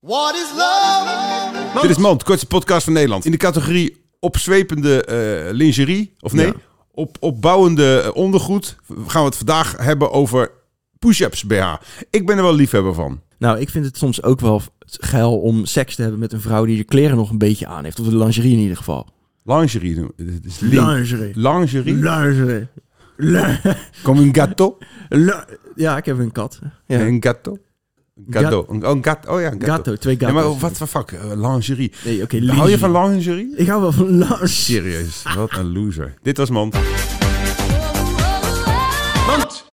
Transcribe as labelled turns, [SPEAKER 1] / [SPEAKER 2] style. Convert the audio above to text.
[SPEAKER 1] What is love?
[SPEAKER 2] Dit is Mand, kortste podcast van Nederland. In de categorie opzwepende eh, lingerie, of nee,
[SPEAKER 3] Ja.
[SPEAKER 2] op, opbouwende eh, ondergoed... gaan we het vandaag hebben over push-ups BH. Ik ben er wel liefhebber van.
[SPEAKER 3] Nou, ik vind het soms ook wel geil om seks te hebben met een vrouw die je kleren nog een beetje aan heeft. Of de lingerie in ieder geval.
[SPEAKER 2] Lingerie, doen we. dit is link.
[SPEAKER 3] Lingerie.
[SPEAKER 2] Lingerie,
[SPEAKER 3] Lingerie.
[SPEAKER 2] comme un gâteau.
[SPEAKER 3] ja, ik heb een kat. Ja.
[SPEAKER 2] Een gâteau. Een Gâteau. Een- Oh, een gâteau. Oh ja, een gâteau.
[SPEAKER 3] Gatto, twee
[SPEAKER 2] Ja,
[SPEAKER 3] gatto's.
[SPEAKER 2] maar wat voor fuck? eh, lingerie.
[SPEAKER 3] Nee, oké.
[SPEAKER 2] Hou je
[SPEAKER 3] lingerie.
[SPEAKER 2] van lingerie?
[SPEAKER 3] Ik hou wel van lingerie.
[SPEAKER 2] Serieus, wat een loser. Dit was Mand.